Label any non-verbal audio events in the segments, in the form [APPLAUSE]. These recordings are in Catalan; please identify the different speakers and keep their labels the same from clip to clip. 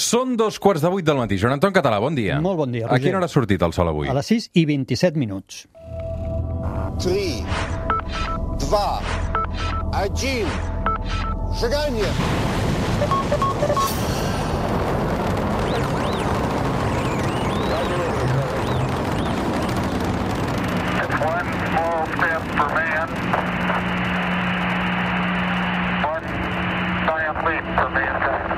Speaker 1: Són dos quarts de vuit del matí. Joan Anton Català, bon dia.
Speaker 2: Molt bon dia,
Speaker 1: A
Speaker 2: Roger.
Speaker 1: quina hora ha sortit el sol avui?
Speaker 2: A les 6 i 27 minuts.
Speaker 3: Три, два, один. Сжигание!
Speaker 4: One small step for man, one giant leap for mankind.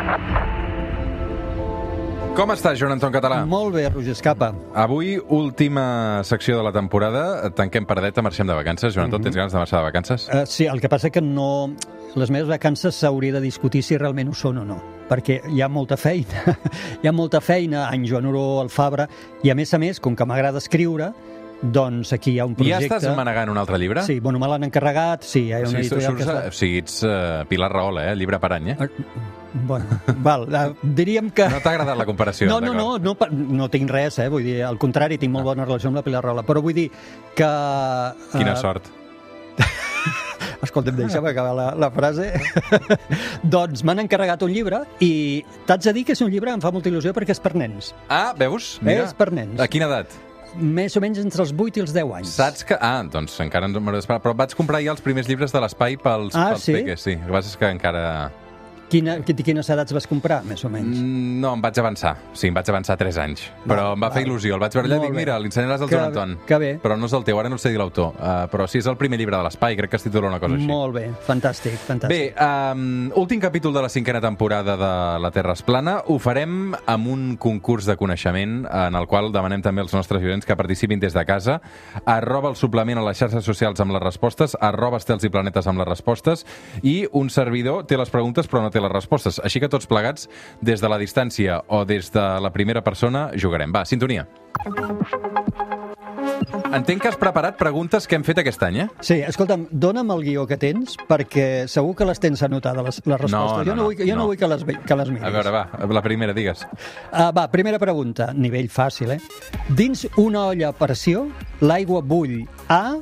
Speaker 1: Com està, Joan Anton Català?
Speaker 2: Molt bé, Roger Escapa.
Speaker 1: Avui, última secció de la temporada. Tanquem paradeta, marxem de vacances. Joan Anton,
Speaker 2: Mhm.
Speaker 1: tens ganes de marxar de vacances?
Speaker 2: Uh, sí, el que passa que no... Les meves vacances s'hauria de discutir si realment ho són o no, perquè hi ha molta feina. [LAUGHS] hi ha molta feina en Joan Oró, al Fabra, i a més a més, com que m'agrada escriure, doncs aquí hi ha un
Speaker 1: I ja
Speaker 2: projecte...
Speaker 1: estàs manegant un altre llibre?
Speaker 2: Sí, bueno, me l'han encarregat, sí, hi ha
Speaker 1: O
Speaker 2: una
Speaker 1: sigui, tu
Speaker 2: editorial
Speaker 1: surts,
Speaker 2: que
Speaker 1: a...
Speaker 2: està... Ah,
Speaker 1: o sigui ets uh, Pilar Rahola, eh? Llibre per any, eh?
Speaker 2: Bueno, val, eh, diríem que...
Speaker 1: No t'ha agradat la comparació?
Speaker 2: No, no,
Speaker 1: d'acord. Ah.
Speaker 2: no, no, pa- no tinc res, eh? Vull dir, al contrari, tinc molt bona relació amb la Pilar Rola, però vull dir que... eh,
Speaker 1: Quina sort.
Speaker 2: Escolta'm,
Speaker 1: Ah.
Speaker 2: deixa'm acabar la, la frase. [LAUGHS] doncs m'han encarregat un llibre i t'haig de dir que és un llibre que em fa molta il·lusió perquè és per nens.
Speaker 1: Ah, veus?
Speaker 2: És per nens.
Speaker 1: A quina edat?
Speaker 2: Més o menys entre els 8 i els 10 anys.
Speaker 1: Saps que... Ah, doncs encara ens m'hauré d'esperar. Però vaig comprar ja els primers llibres de l'espai pels,
Speaker 2: Ah,
Speaker 1: pels
Speaker 2: sí?
Speaker 1: peques, sí. El que passa és que encara...
Speaker 2: Quina, qui- quines edats vas comprar, més o menys?
Speaker 1: Mm, No, em vaig avançar. Sí, em vaig avançar 3 anys. Però em va fer il·lusió. El vaig veure allà i
Speaker 2: Molt
Speaker 1: dic,
Speaker 2: bé.
Speaker 1: mira, l'ensenyaràs al
Speaker 2: Que-
Speaker 1: Joan Anton.
Speaker 2: que bé.
Speaker 1: Però no és el teu, ara no sé dir l'autor. Uh, però sí, és el primer llibre de l'espai, crec que es titula una cosa així.
Speaker 2: Molt bé, fantàstic, fantàstic.
Speaker 1: Bé, um, últim capítol de la cinquena temporada de La Terra es plana. Ho farem amb un concurs de coneixement en el qual demanem també als nostres violents que participin des de casa. Arroba el suplement a les xarxes socials amb les respostes, arroba estels i planetes amb les respostes i un servidor té les preguntes però no té les respostes. Així que tots plegats, des de la distància o des de la primera persona, jugarem. Va, sintonia. Entenc que has preparat preguntes que hem fet aquest any, eh?
Speaker 2: Sí, escolta'm, dona'm el guió que tens perquè segur que les tens anotades, les, les respostes.
Speaker 1: No, no,
Speaker 2: jo no,
Speaker 1: no,
Speaker 2: vull, que- jo no.
Speaker 1: no.
Speaker 2: vull que les, ve- que les miris.
Speaker 1: A veure, va, la primera, digues.
Speaker 2: Ah, va, primera pregunta, nivell fàcil, eh? Dins una olla a pressió, l'aigua bull a...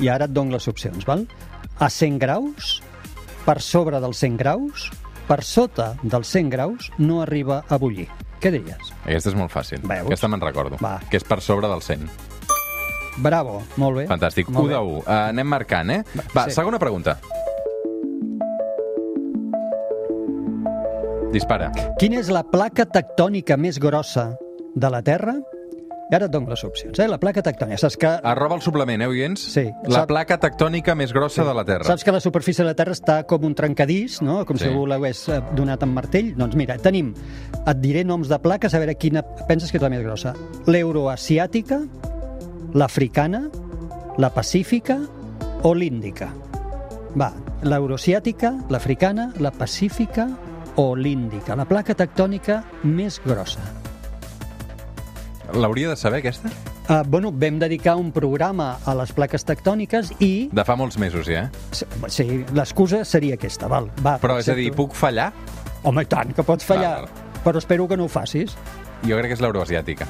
Speaker 2: I ara et dono les opcions, val? A 100 graus, per sobre dels 100 graus, per sota dels 100 graus, no arriba a bullir. Què diries?
Speaker 1: Aquesta és molt fàcil.
Speaker 2: Veus?
Speaker 1: Aquesta me'n recordo.
Speaker 2: Va.
Speaker 1: Que és per sobre del 100.
Speaker 2: Bravo, molt bé.
Speaker 1: Fantàstic.
Speaker 2: Molt
Speaker 1: 1 de
Speaker 2: bé.
Speaker 1: 1. Uh, anem marcant, eh? Va,
Speaker 2: sí.
Speaker 1: segona pregunta. Dispara.
Speaker 2: Quina és la placa tectònica més grossa de la Terra? I ara et dono les opcions, eh? La placa tectònica. Saps que,
Speaker 1: Arroba el suplement, eh, oients?
Speaker 2: Sí.
Speaker 1: La
Speaker 2: Sap-
Speaker 1: placa tectònica més grossa de la Terra.
Speaker 2: saps que la superfície de la Terra està com un trencadís, no? Com
Speaker 1: Sí.
Speaker 2: si algú l'hagués eh, donat amb martell. Doncs mira, tenim... Et diré noms de plaques, a veure quina penses que és la més grossa. L'euroasiàtica, l'africana, la pacífica o l'índica? Va, l'euroasiàtica, l'africana, la pacífica o l'índica. La placa tectònica més grossa.
Speaker 1: L'hauria de saber, aquesta?
Speaker 2: Uh, bueno, vam dedicar un programa a les plaques tectòniques i
Speaker 1: De fa molts mesos, ja, eh?
Speaker 2: sí, l'excusa seria aquesta, val? Va,
Speaker 1: Però, és a dir,
Speaker 2: accepto.
Speaker 1: puc fallar?
Speaker 2: Home, i tant, que pots fallar,
Speaker 1: Val,
Speaker 2: però espero que no ho facis.
Speaker 1: Jo crec que és l'euroasiàtica.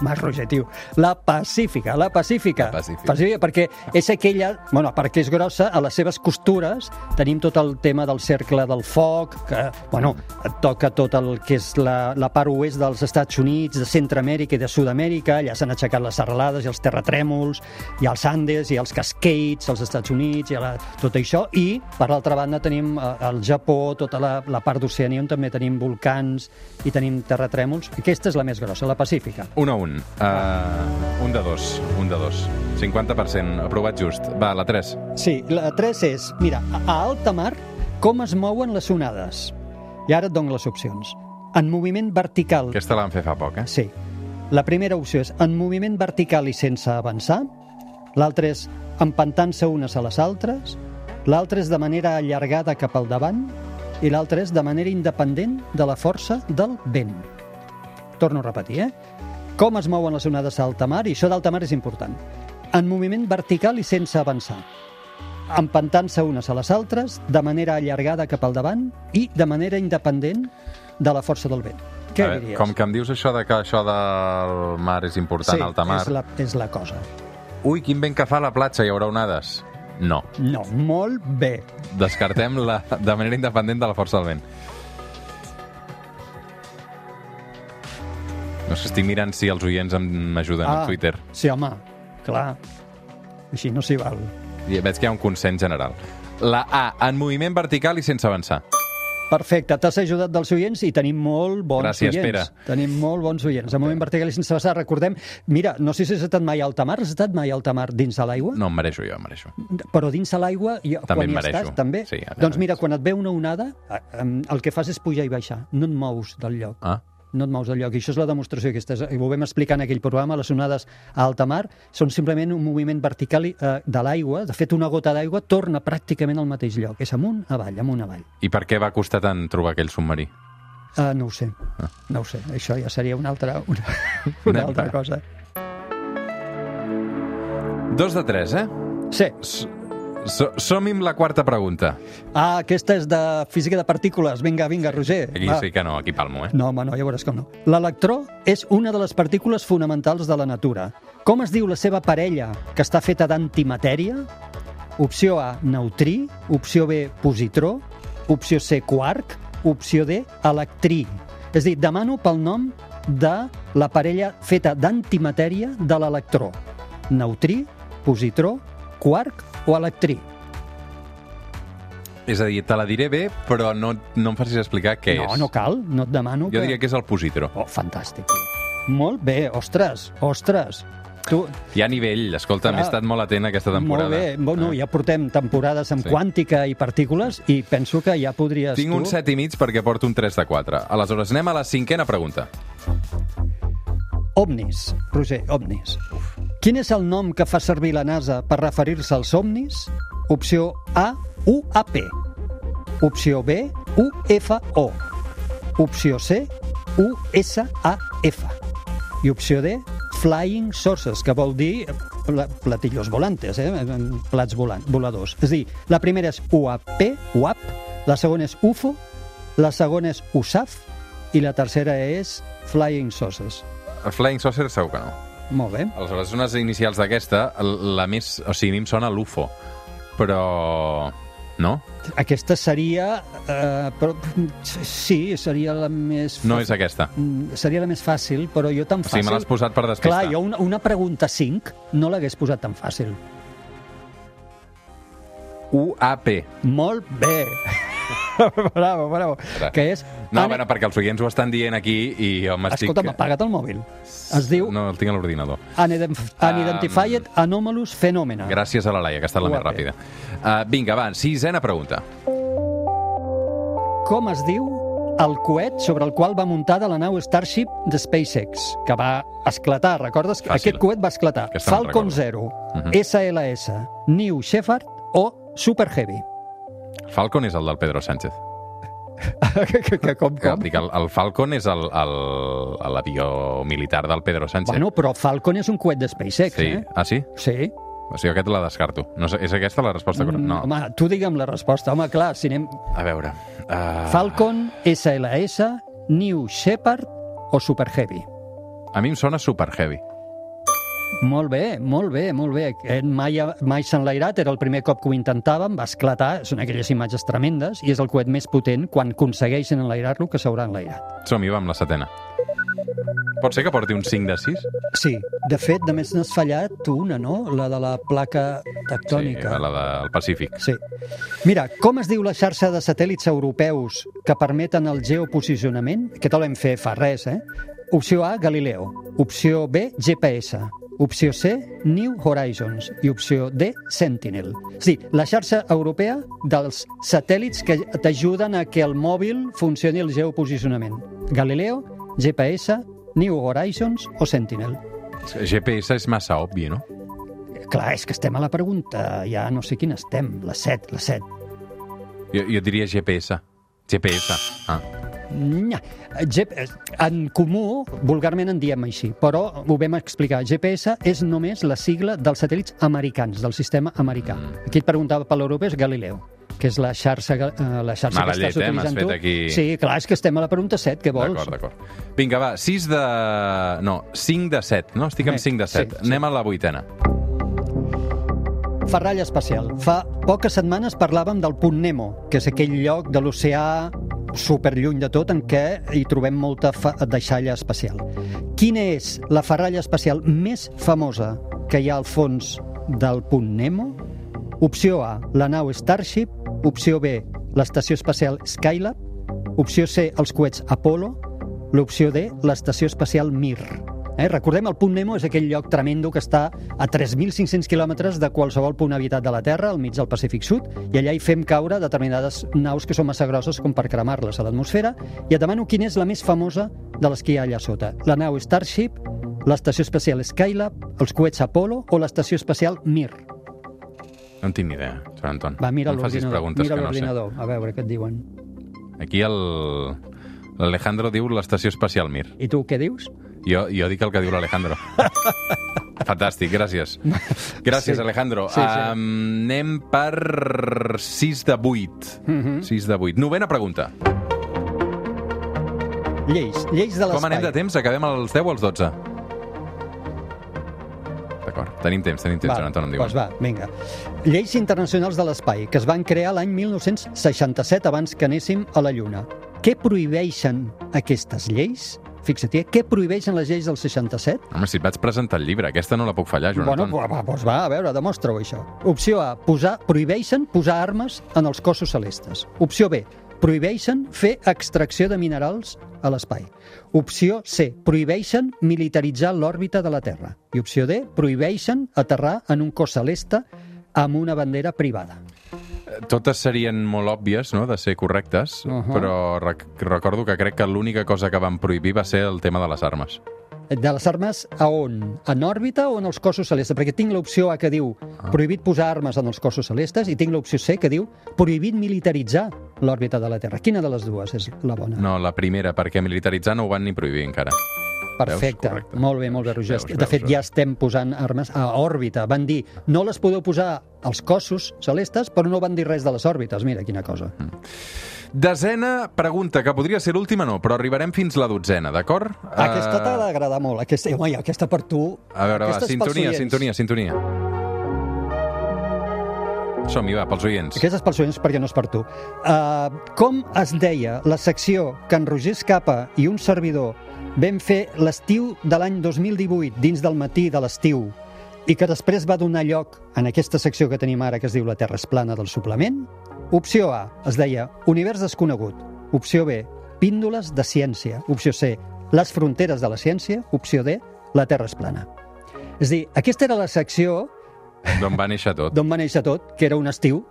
Speaker 2: Mas Roger, tio. La pacífica, la pacífica.
Speaker 1: La pacífica.
Speaker 2: perquè és aquella... Bueno, perquè és grossa, a les seves costures tenim tot el tema del cercle del foc, que, bueno, et toca tot el que és la, la part oest dels Estats Units, de Centroamèrica i de Sud-amèrica, allà s'han aixecat les serralades i els terratrèmols, i els Andes, i els Cascades, als Estats Units, i la, tot això, i per l'altra banda tenim eh, el Japó, tota la, la part d'Oceania, on també tenim volcans i tenim terratrèmols. Aquesta és la més grossa, la pacífica.
Speaker 1: 1 a 1. Uh, un de 2. Un de 2. 50%. Aprovat just. Va, la 3.
Speaker 2: Sí, la 3 és, mira, a a alta mar, com es mouen les onades? I ara et dono les opcions. En moviment vertical...
Speaker 1: Aquesta la van fer fa poc, eh?
Speaker 2: Sí. La primera opció és en moviment vertical i sense avançar. L'altra és empantant-se unes a les altres. L'altra és de manera allargada cap al davant. I l'altra és de manera independent de la força del vent. Torno a repetir, eh? Com es mouen les onades a alta mar, i això d'alta mar és important. En moviment vertical i sense avançar. Empantant-se unes a les altres, de manera allargada cap al davant i de manera independent de la força del vent. Què
Speaker 1: A veure,
Speaker 2: diries?
Speaker 1: Com que em dius això de que això del mar és important, alta mar...
Speaker 2: És la, és la cosa.
Speaker 1: Ui, quin vent que fa a la platja, hi haurà onades. No.
Speaker 2: No, molt bé.
Speaker 1: Descartem la, de manera independent de la força del vent. No sé, estic mirant si els oients em- m'ajuden ah. a Twitter.
Speaker 2: Sí, home, clar. Així no s'hi val.
Speaker 1: I veig que hi ha un consens general. La A, en moviment vertical i sense avançar.
Speaker 2: Perfecte, t'has ajudat dels oients i tenim molt bons
Speaker 1: Gràcies,
Speaker 2: oients.
Speaker 1: Pere.
Speaker 2: Tenim molt bons oients. De moment vertical i sense vessar, recordem... Mira, no sé si has estat mai a alta mar, has estat mai a alta mar dins de l'aigua?
Speaker 1: No, em mereixo jo, em mereixo.
Speaker 2: Però dins de l'aigua, jo-
Speaker 1: També
Speaker 2: quan
Speaker 1: em
Speaker 2: hi
Speaker 1: mereixo.
Speaker 2: estàs, també?
Speaker 1: Sí, ja, ja
Speaker 2: doncs
Speaker 1: veig.
Speaker 2: mira, quan et ve una onada, eh, em, el que fas és pujar i baixar. No et mous del lloc.
Speaker 1: Ah,
Speaker 2: No et mous del lloc. I això és la demostració que estàs, ho vam explicar en aquell programa, les onades a alta mar són simplement un moviment vertical i, eh, de l'aigua. De fet, una gota d'aigua torna pràcticament al mateix lloc. És amunt, avall, amunt, avall.
Speaker 1: i per què va costar tant trobar aquell submarí?
Speaker 2: Uh, no ho sé, no ho sé. Això ja seria una altra, una, una
Speaker 1: Anem
Speaker 2: altra
Speaker 1: per-
Speaker 2: cosa.
Speaker 1: Dos de tres, eh?
Speaker 2: Sí,
Speaker 1: S so Som-hi amb la quarta pregunta.
Speaker 2: ah, aquesta és de física de partícules. Vinga, vinga, Roger.
Speaker 1: Aquí
Speaker 2: va.
Speaker 1: sí que no, aquí palmo, eh?
Speaker 2: No, home, no, ja veuràs com no. L'electró és una de les partícules fonamentals de la natura. Com es diu la seva parella, que està feta d'antimatèria? Opció A, neutrí. Opció B, positró. Opció C, quark. Opció D, electrí. És a dir, demano pel nom de la parella feta d'antimatèria de l'electró. Neutrí, positró, quark o electrí.
Speaker 1: És a dir, te la diré bé, però no, no em facis explicar què
Speaker 2: no,
Speaker 1: és.
Speaker 2: no cal, no et demano.
Speaker 1: Jo diria que és el positró.
Speaker 2: Oh, fantàstic. Molt bé, ostres, ostres. Tu,
Speaker 1: Hi ha nivell, escolta,
Speaker 2: Clar.
Speaker 1: m'he estat molt atent aquesta temporada. Eh,
Speaker 2: Molt bé, bueno, ja portem temporades amb
Speaker 1: Sí.
Speaker 2: sí. quàntica i partícules i penso que ja podries
Speaker 1: Tinc
Speaker 2: tu...
Speaker 1: un set i mig perquè porto un 3 de 4. Aleshores, anem a la cinquena pregunta.
Speaker 2: Omnis, Roger, omnis. Quin és el nom que fa servir la NASA per referir-se als omnis? Opció A, UAP. Opció B, UFO. Opció C, USAF. I opció D, Flying Sources, que vol dir pla- platillos volantes, eh? plats volant, voladors. És a dir, la primera és UAP, UAP, la segona és UFO, la segona és USAF i la tercera és Flying Sources.
Speaker 1: El Flying Saucer segur que no.
Speaker 2: Molt bé.
Speaker 1: Aleshores, unes inicials d'aquesta, l- la més... O sigui, a mi em sona l'UFO, però... No?
Speaker 2: Aquesta seria... Eh, però, sí, seria la més...
Speaker 1: No és aquesta.
Speaker 2: Mm, Seria la més fàcil, però jo tan
Speaker 1: O sigui,
Speaker 2: fàcil...
Speaker 1: me l'has posat per despistar.
Speaker 2: Clar, jo una, una pregunta 5 no l'hagués posat tan fàcil.
Speaker 1: UAP.
Speaker 2: Molt
Speaker 1: [LAUGHS]
Speaker 2: bé! bravo, bravo.
Speaker 1: Ara.
Speaker 2: Que és...
Speaker 1: No,
Speaker 2: Ana-
Speaker 1: bueno, perquè els oients ho estan dient aquí i jo m'estic...
Speaker 2: Escolta'm, apaga't el mòbil. Es diu
Speaker 1: No,
Speaker 2: no.
Speaker 1: Um, el tinc a l'ordinador.
Speaker 2: Unidentified Anomalous Phenomena.
Speaker 1: Gràcies a la Laia, que ha estat la més
Speaker 2: UAP.
Speaker 1: ràpida. Uh, vinga, va, sisena pregunta.
Speaker 2: Com es diu el coet sobre el qual va muntada la nau Starship de SpaceX, que va esclatar, recordes? que
Speaker 1: Fàcil.
Speaker 2: Aquest coet va esclatar.
Speaker 1: Aquesta me'n
Speaker 2: Falcon
Speaker 1: recordo.
Speaker 2: 0,
Speaker 1: Mhm.
Speaker 2: SLS, New Shepard o Super Heavy. [LAUGHS]
Speaker 1: Falcon és el del Pedro Sánchez.
Speaker 2: que, que, que, com,
Speaker 1: Que,
Speaker 2: com?
Speaker 1: dic, el, el Falcon és el- el- l'avió militar del Pedro Sánchez.
Speaker 2: Bueno, però Falcon és un coet de SpaceX,
Speaker 1: sí.
Speaker 2: eh?
Speaker 1: Ah, sí?
Speaker 2: Sí.
Speaker 1: O sigui, aquest la descarto. No, sé, és aquesta la resposta correcta? No. Ah.
Speaker 2: Home, tu digue'm la resposta. Home, clar, si anem...
Speaker 1: A veure... Uh,
Speaker 2: Falcon, SLS, New Shepard o Super Heavy.
Speaker 1: A mi em sona super heavy.
Speaker 2: Molt bé, molt bé, molt bé. Aquest mai, mai s'ha enlairat, era el primer cop que ho intentàvem, va esclatar, són aquelles imatges tremendes, i és el coet més potent quan aconsegueixen enlairar-lo que s'haurà enlairat.
Speaker 1: Som-hi, va, amb la setena. Pot ser que porti un 5 de 6?
Speaker 2: Sí, de fet, només n'has fallat tu una, no? La de la placa tectònica.
Speaker 1: Sí, la del Pacífic.
Speaker 2: Sí. Mira, com es diu la xarxa de satèl·lits europeus que permeten el geoposicionament? Que te l'hem fet fa res, eh? Opció A, Galileo. Opció B, GPS. Opció C, New Horizons. I opció D, Sentinel. És a dir, la xarxa europea dels satèl·lits que t'ajuden a que el mòbil funcioni el geoposicionament. Galileo, GPS, New Horizons o Sentinel.
Speaker 1: GPS és massa obvi, no?
Speaker 2: Clar, és que estem a la pregunta, ja no sé quina estem, la 7, la 7.
Speaker 1: Jo, jo diria GPS. GPS. Ah.
Speaker 2: Nya. Gep- En comú, vulgarment en diem així, però ho vam explicar. GPS és només la sigla dels satèl·lits americans, del sistema americà.
Speaker 1: Mm.
Speaker 2: Aquí et preguntava per l'europeu, és Galileu que és la xarxa, ga- eh, la xarxa
Speaker 1: Mala
Speaker 2: que
Speaker 1: llet,
Speaker 2: estàs
Speaker 1: eh? M'has
Speaker 2: utilitzant
Speaker 1: fet
Speaker 2: tu.
Speaker 1: aquí-
Speaker 2: Sí, clar, és que estem a la pregunta 7, què vols?
Speaker 1: D'acord, d'acord. Vinga, va, 6 de... No, 5 de 7, no? Estic amb
Speaker 2: Eh, Sí,
Speaker 1: 5 de 7.
Speaker 2: sí, sí.
Speaker 1: Anem a la vuitena.
Speaker 2: Fa ratlla especial. Fa poques setmanes parlàvem del punt Nemo, que és aquell lloc de l'oceà superlluny de tot en què hi trobem molta fa- deixalla espacial. Quina és la ferralla espacial més famosa que hi ha al fons del punt Nemo? Opció A, la nau Starship. Opció B, l'estació espacial Skylab. Opció C, els coets Apollo. L'opció D, l'estació espacial Mir. Eh, recordem, el punt Nemo és aquell lloc tremendo que està a 3.500 quilòmetres de qualsevol punt habitat de la Terra, al mig del Pacífic Sud, i allà hi fem caure determinades naus que són massa grosses com per cremar-les a l'atmosfera, i et demano quina és la més famosa de les que hi ha allà sota. La nau Starship, l'estació espacial Skylab, els coets Apollo o l'estació espacial Mir.
Speaker 1: No en tinc ni idea, Joan Anton.
Speaker 2: Va, mira
Speaker 1: no em facis
Speaker 2: l'ordinador,
Speaker 1: preguntes
Speaker 2: mira
Speaker 1: que no sé.
Speaker 2: l'ordinador, a veure què et diuen.
Speaker 1: Aquí el... L'Alejandro diu l'estació espacial Mir.
Speaker 2: I tu què dius?
Speaker 1: Jo, jo dic el que diu l'Alejandro. [LAUGHS] Fantàstic, gràcies. Gràcies,
Speaker 2: Sí.
Speaker 1: Alejandro.
Speaker 2: Sí, sí.
Speaker 1: Um, anem per 6 de 8.
Speaker 2: Mhm.
Speaker 1: 6 de 8. Novena pregunta.
Speaker 2: Lleis, lleis de l'espai.
Speaker 1: Com anem de temps? Acabem als 10 o als 12? D'acord, tenim temps, tenim temps, Joan Anton, em diuen.
Speaker 2: doncs va, vinga. Lleis internacionals de l'espai, que es van crear l'any 1967 abans que anéssim a la Lluna. Què prohibeixen aquestes lleis? Fixa't, eh? què prohibeixen les lleis del 67?
Speaker 1: Home, si et vaig presentar el llibre, aquesta no la puc fallar, Joan
Speaker 2: Bueno,
Speaker 1: Anton.
Speaker 2: va, va, doncs va, a veure, demostra-ho, això. Opció A, posar, prohibeixen posar armes en els cossos celestes. Opció B, prohibeixen fer extracció de minerals a l'espai. Opció C, prohibeixen militaritzar l'òrbita de la Terra. I opció D, prohibeixen aterrar en un cos celeste amb una bandera privada.
Speaker 1: Totes serien molt òbvies, no?, de ser correctes,
Speaker 2: Ujú.
Speaker 1: però rec recordo que crec que l'única cosa que van prohibir va ser el tema de les armes.
Speaker 2: De les armes a on? En òrbita o en els cossos celestes? Perquè tinc l'opció A que diu
Speaker 1: Ah.
Speaker 2: prohibit posar armes en els cossos celestes i tinc l'opció C que diu prohibit militaritzar l'òrbita de la Terra. Quina de les dues és la bona?
Speaker 1: No, la primera, perquè militaritzar no ho van ni prohibir encara.
Speaker 2: Perfecte.
Speaker 1: Veus? Correcte.
Speaker 2: Molt bé, molt bé,
Speaker 1: Veus,
Speaker 2: Roger.
Speaker 1: veus,
Speaker 2: de fet,
Speaker 1: veus.
Speaker 2: ja estem posant armes a òrbita. Van dir, no les podeu posar als cossos celestes, però no van dir res de les òrbites. Mira, quina cosa.
Speaker 1: Mm. Desena pregunta, que podria ser l'última no, però arribarem fins la dotzena, d'acord?
Speaker 2: Aquesta t'ha
Speaker 1: Eh,
Speaker 2: d'agradar molt. Aquesta, home, i aquesta per tu.
Speaker 1: A veure, va,
Speaker 2: Aquesta és pels
Speaker 1: sintonia,
Speaker 2: oients.
Speaker 1: sintonia, sintonia. Som-hi, va, pels oients.
Speaker 2: Aquesta és pels oients perquè no és per tu. Uh, com es deia la secció que en Roger Escapa i un servidor vam fer l'estiu de l'any 2018 dins del matí de l'estiu i que després va donar lloc en aquesta secció que tenim ara que es diu La Terra és plana del suplement? Opció A es deia Univers desconegut. Opció B, Píndoles de ciència. Opció C, Les fronteres de la ciència. Opció D, La Terra és plana. És a dir, aquesta era la secció
Speaker 1: D'on va néixer tot.
Speaker 2: d'on va néixer tot, que era un estiu.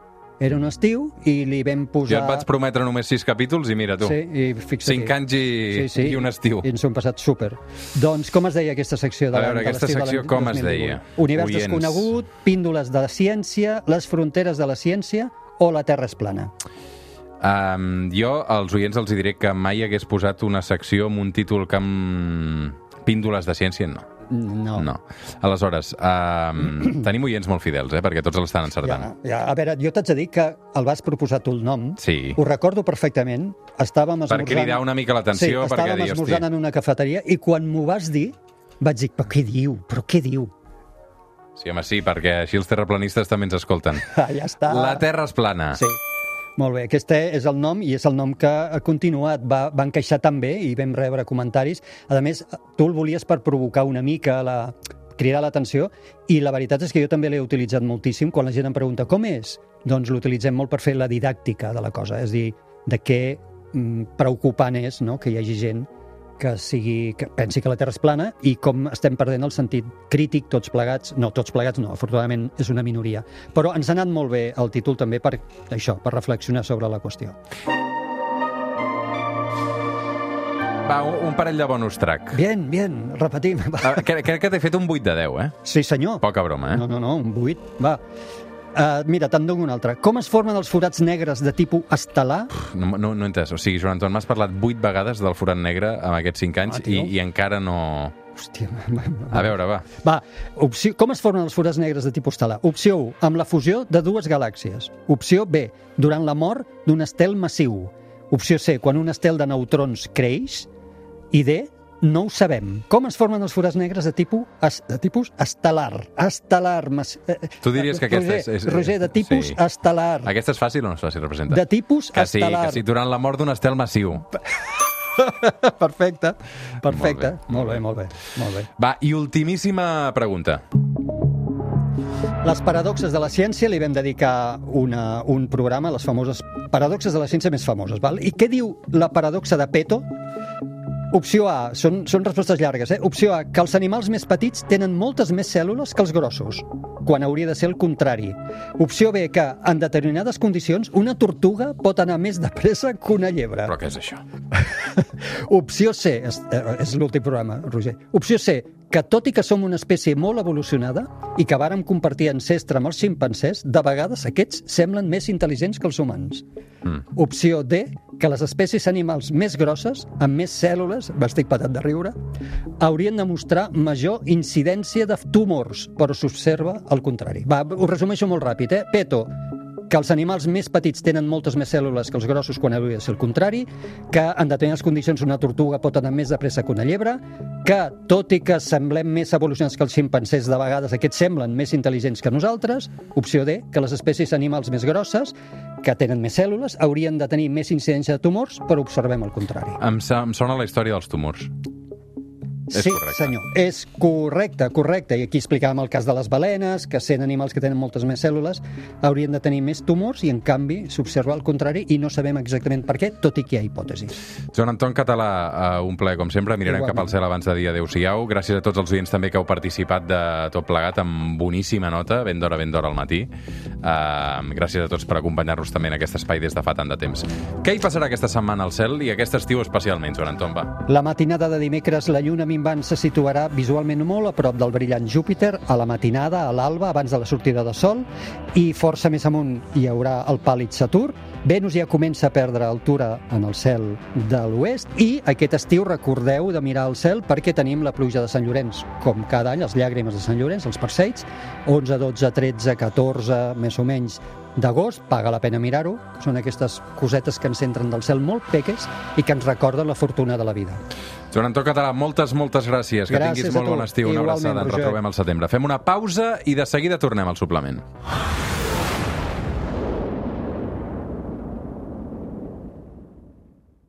Speaker 2: Era un estiu i li vam
Speaker 1: Jo
Speaker 2: posar...
Speaker 1: et vaig prometre només sis capítols i mira tu,
Speaker 2: Sí, i fixa't.
Speaker 1: cinc anys i,
Speaker 2: sí, sí,
Speaker 1: i un estiu.
Speaker 2: I ens ho hem passat super. Doncs com es deia aquesta secció de
Speaker 1: A
Speaker 2: l'any-
Speaker 1: veure,
Speaker 2: de
Speaker 1: aquesta
Speaker 2: l'estiu de l'any
Speaker 1: secció com es
Speaker 2: 2018?
Speaker 1: deia?
Speaker 2: Univers
Speaker 1: Oients.
Speaker 2: desconegut, píndoles de la ciència, les fronteres de la ciència o la Terra és plana.
Speaker 1: Um, jo als oients els hi diré que mai hagués posat una secció amb un títol que amb píndoles de ciència, no.
Speaker 2: No.
Speaker 1: No. Aleshores,
Speaker 2: [CLEARS THROAT]
Speaker 1: um, tenim oients molt fidels, eh? perquè tots l'estan encertant.
Speaker 2: Ja, ja, a veure, jo t'haig de dir que el vas proposar tu el nom.
Speaker 1: Sí.
Speaker 2: Ho recordo perfectament. Estàvem
Speaker 1: Per
Speaker 2: esmorzant...
Speaker 1: cridar una mica l'atenció,
Speaker 2: sí,
Speaker 1: perquè
Speaker 2: estàvem
Speaker 1: dir, hosti,
Speaker 2: esmorzant en una cafeteria i quan m'ho vas dir vaig dir, però què diu? Però què diu?
Speaker 1: sí, home, sí, perquè així els terraplanistes també ens escolten.
Speaker 2: Ah, ja està.
Speaker 1: La Terra és plana.
Speaker 2: Sí. Molt bé, aquest és el nom i és el nom que ha continuat, va, va encaixar tan bé i vam rebre comentaris. A més, tu el volies per provocar una mica la cridar l'atenció i la veritat és que jo també l'he utilitzat moltíssim quan la gent em pregunta com és, doncs l'utilitzem molt per fer la didàctica de la cosa, és a dir, de què mm, preocupant és no? que hi hagi gent que, sigui, que pensi que la Terra és plana i com estem perdent el sentit crític tots plegats, no, tots plegats no, afortunadament és una minoria, però ens ha anat molt bé el títol també per això, per reflexionar sobre la qüestió.
Speaker 1: Va, un, un parell de bonus track.
Speaker 2: Bien, bien, repetim. Va.
Speaker 1: Ah, Crec, crec que t'he fet un 8 de 10, eh?
Speaker 2: Sí, senyor.
Speaker 1: Poca broma, eh?
Speaker 2: No, no, no, un buit, va. Uh, mira, te'n dono un altre. Com es formen els forats negres de tipus estel·lar?
Speaker 1: No, no, no he entès. O sigui, Joan Anton, m'has parlat 8 vegades del forat negre en aquests 5 anys
Speaker 2: Ah,
Speaker 1: i,
Speaker 2: tio.
Speaker 1: i encara no...
Speaker 2: Hòstia,
Speaker 1: A veure, va.
Speaker 2: Va, opció, com es formen els forats negres de tipus estel·lar? Opció 1, amb la fusió de dues galàxies. Opció B, durant la mort d'un estel massiu. Opció C, quan un estel de neutrons creix. I D, No ho sabem. Com es formen els forats negres de tipus, es- de tipus estel·lar? Estel·lar. mas- eh,
Speaker 1: Tu diries que aquesta
Speaker 2: Roger,
Speaker 1: és- és-
Speaker 2: Roger, de tipus
Speaker 1: sí.
Speaker 2: estel·lar.
Speaker 1: Aquesta és fàcil o no és fàcil representar?
Speaker 2: De tipus
Speaker 1: que sí,
Speaker 2: estel·lar.
Speaker 1: que sí, durant la mort d'un estel massiu.
Speaker 2: [LAUGHS] Perfecte, perfecte.
Speaker 1: Molt
Speaker 2: Molt
Speaker 1: bé,
Speaker 2: bé, molt bé, molt bé.
Speaker 1: Va, i ultimíssima pregunta.
Speaker 2: Les paradoxes de la ciència li vam dedicar una, un programa, les famoses paradoxes de la ciència més famoses. Val? I què diu la paradoxa de Peto? Opció A, són, són respostes llargues, eh? Opció A, que els animals més petits tenen moltes més cèl·lules que els grossos, quan hauria de ser el contrari. Opció B, que en determinades condicions una tortuga pot anar més de pressa que una llebre.
Speaker 1: Però què és això?
Speaker 2: Opció C, és, eh, és l'últim programa, Roger. Opció C, que tot i que som una espècie molt evolucionada i que vàrem compartir ancestre amb els ximpancers, de vegades aquests semblen més intel·ligents que els humans.
Speaker 1: Mm.
Speaker 2: Opció D, que les espècies animals més grosses, amb més cèl·lules, m'estic patat de riure, haurien de mostrar major incidència de tumors, però s'observa el contrari. Va, ho resumeixo molt ràpid, eh? Peto, que els animals més petits tenen moltes més cèl·lules que els grossos quan hauria de ser el contrari, que en determinades condicions una tortuga pot anar més de pressa que una llebre, que, tot i que semblem més evolucionats que els ximpancers, de vegades aquests semblen més intel·ligents que nosaltres, opció D, que les espècies animals més grosses, que tenen més cèl·lules, haurien de tenir més incidència de tumors, però observem el contrari.
Speaker 1: Em, sa- em sona la història dels tumors. És
Speaker 2: sí,
Speaker 1: correcte.
Speaker 2: senyor, és correcte, correcte. I aquí explicàvem el cas de les balenes, que sent animals que tenen moltes més cèl·lules, haurien de tenir més tumors i, en canvi, s'observa el contrari i no sabem exactament per què, tot i que hi ha hipòtesis.
Speaker 1: Joan Anton Català, eh, un plaer com sempre. Mirarem
Speaker 2: Igualment.
Speaker 1: cap al cel abans de dir adeu-siau. Gràcies a tots els oients també que heu participat de tot plegat amb boníssima nota, ben d'hora, ben d'hora al matí. Eh, gràcies a tots per acompanyar-nos també en aquest espai des de fa tant de temps. Què hi passarà aquesta setmana al cel i aquest estiu especialment, Joan Anton? Va.
Speaker 2: La matinada de dimecres, la lluna minvant se situarà visualment molt a prop del brillant Júpiter, a la matinada, a l'alba, abans de la sortida de Sol, i força més amunt hi haurà el pàl·lid Saturn. Venus ja comença a perdre altura en el cel de l'oest i aquest estiu recordeu de mirar al cel perquè tenim la pluja de Sant Llorenç. Com cada any, les llàgrimes de Sant Llorenç, els perseids, 11, 12, 13, 14, més o menys, d'agost, paga la pena mirar-ho. Són aquestes cosetes que ens entren del cel molt peques i que ens recorden la fortuna de la vida.
Speaker 1: Joan Anton Català, moltes, moltes gràcies. Que
Speaker 2: Gràcies
Speaker 1: tinguis
Speaker 2: a
Speaker 1: molt
Speaker 2: tu.
Speaker 1: bon estiu. Una
Speaker 2: Igualment,
Speaker 1: abraçada. Ens
Speaker 2: Roger.
Speaker 1: retrobem al setembre. Fem una pausa i de seguida tornem al suplement.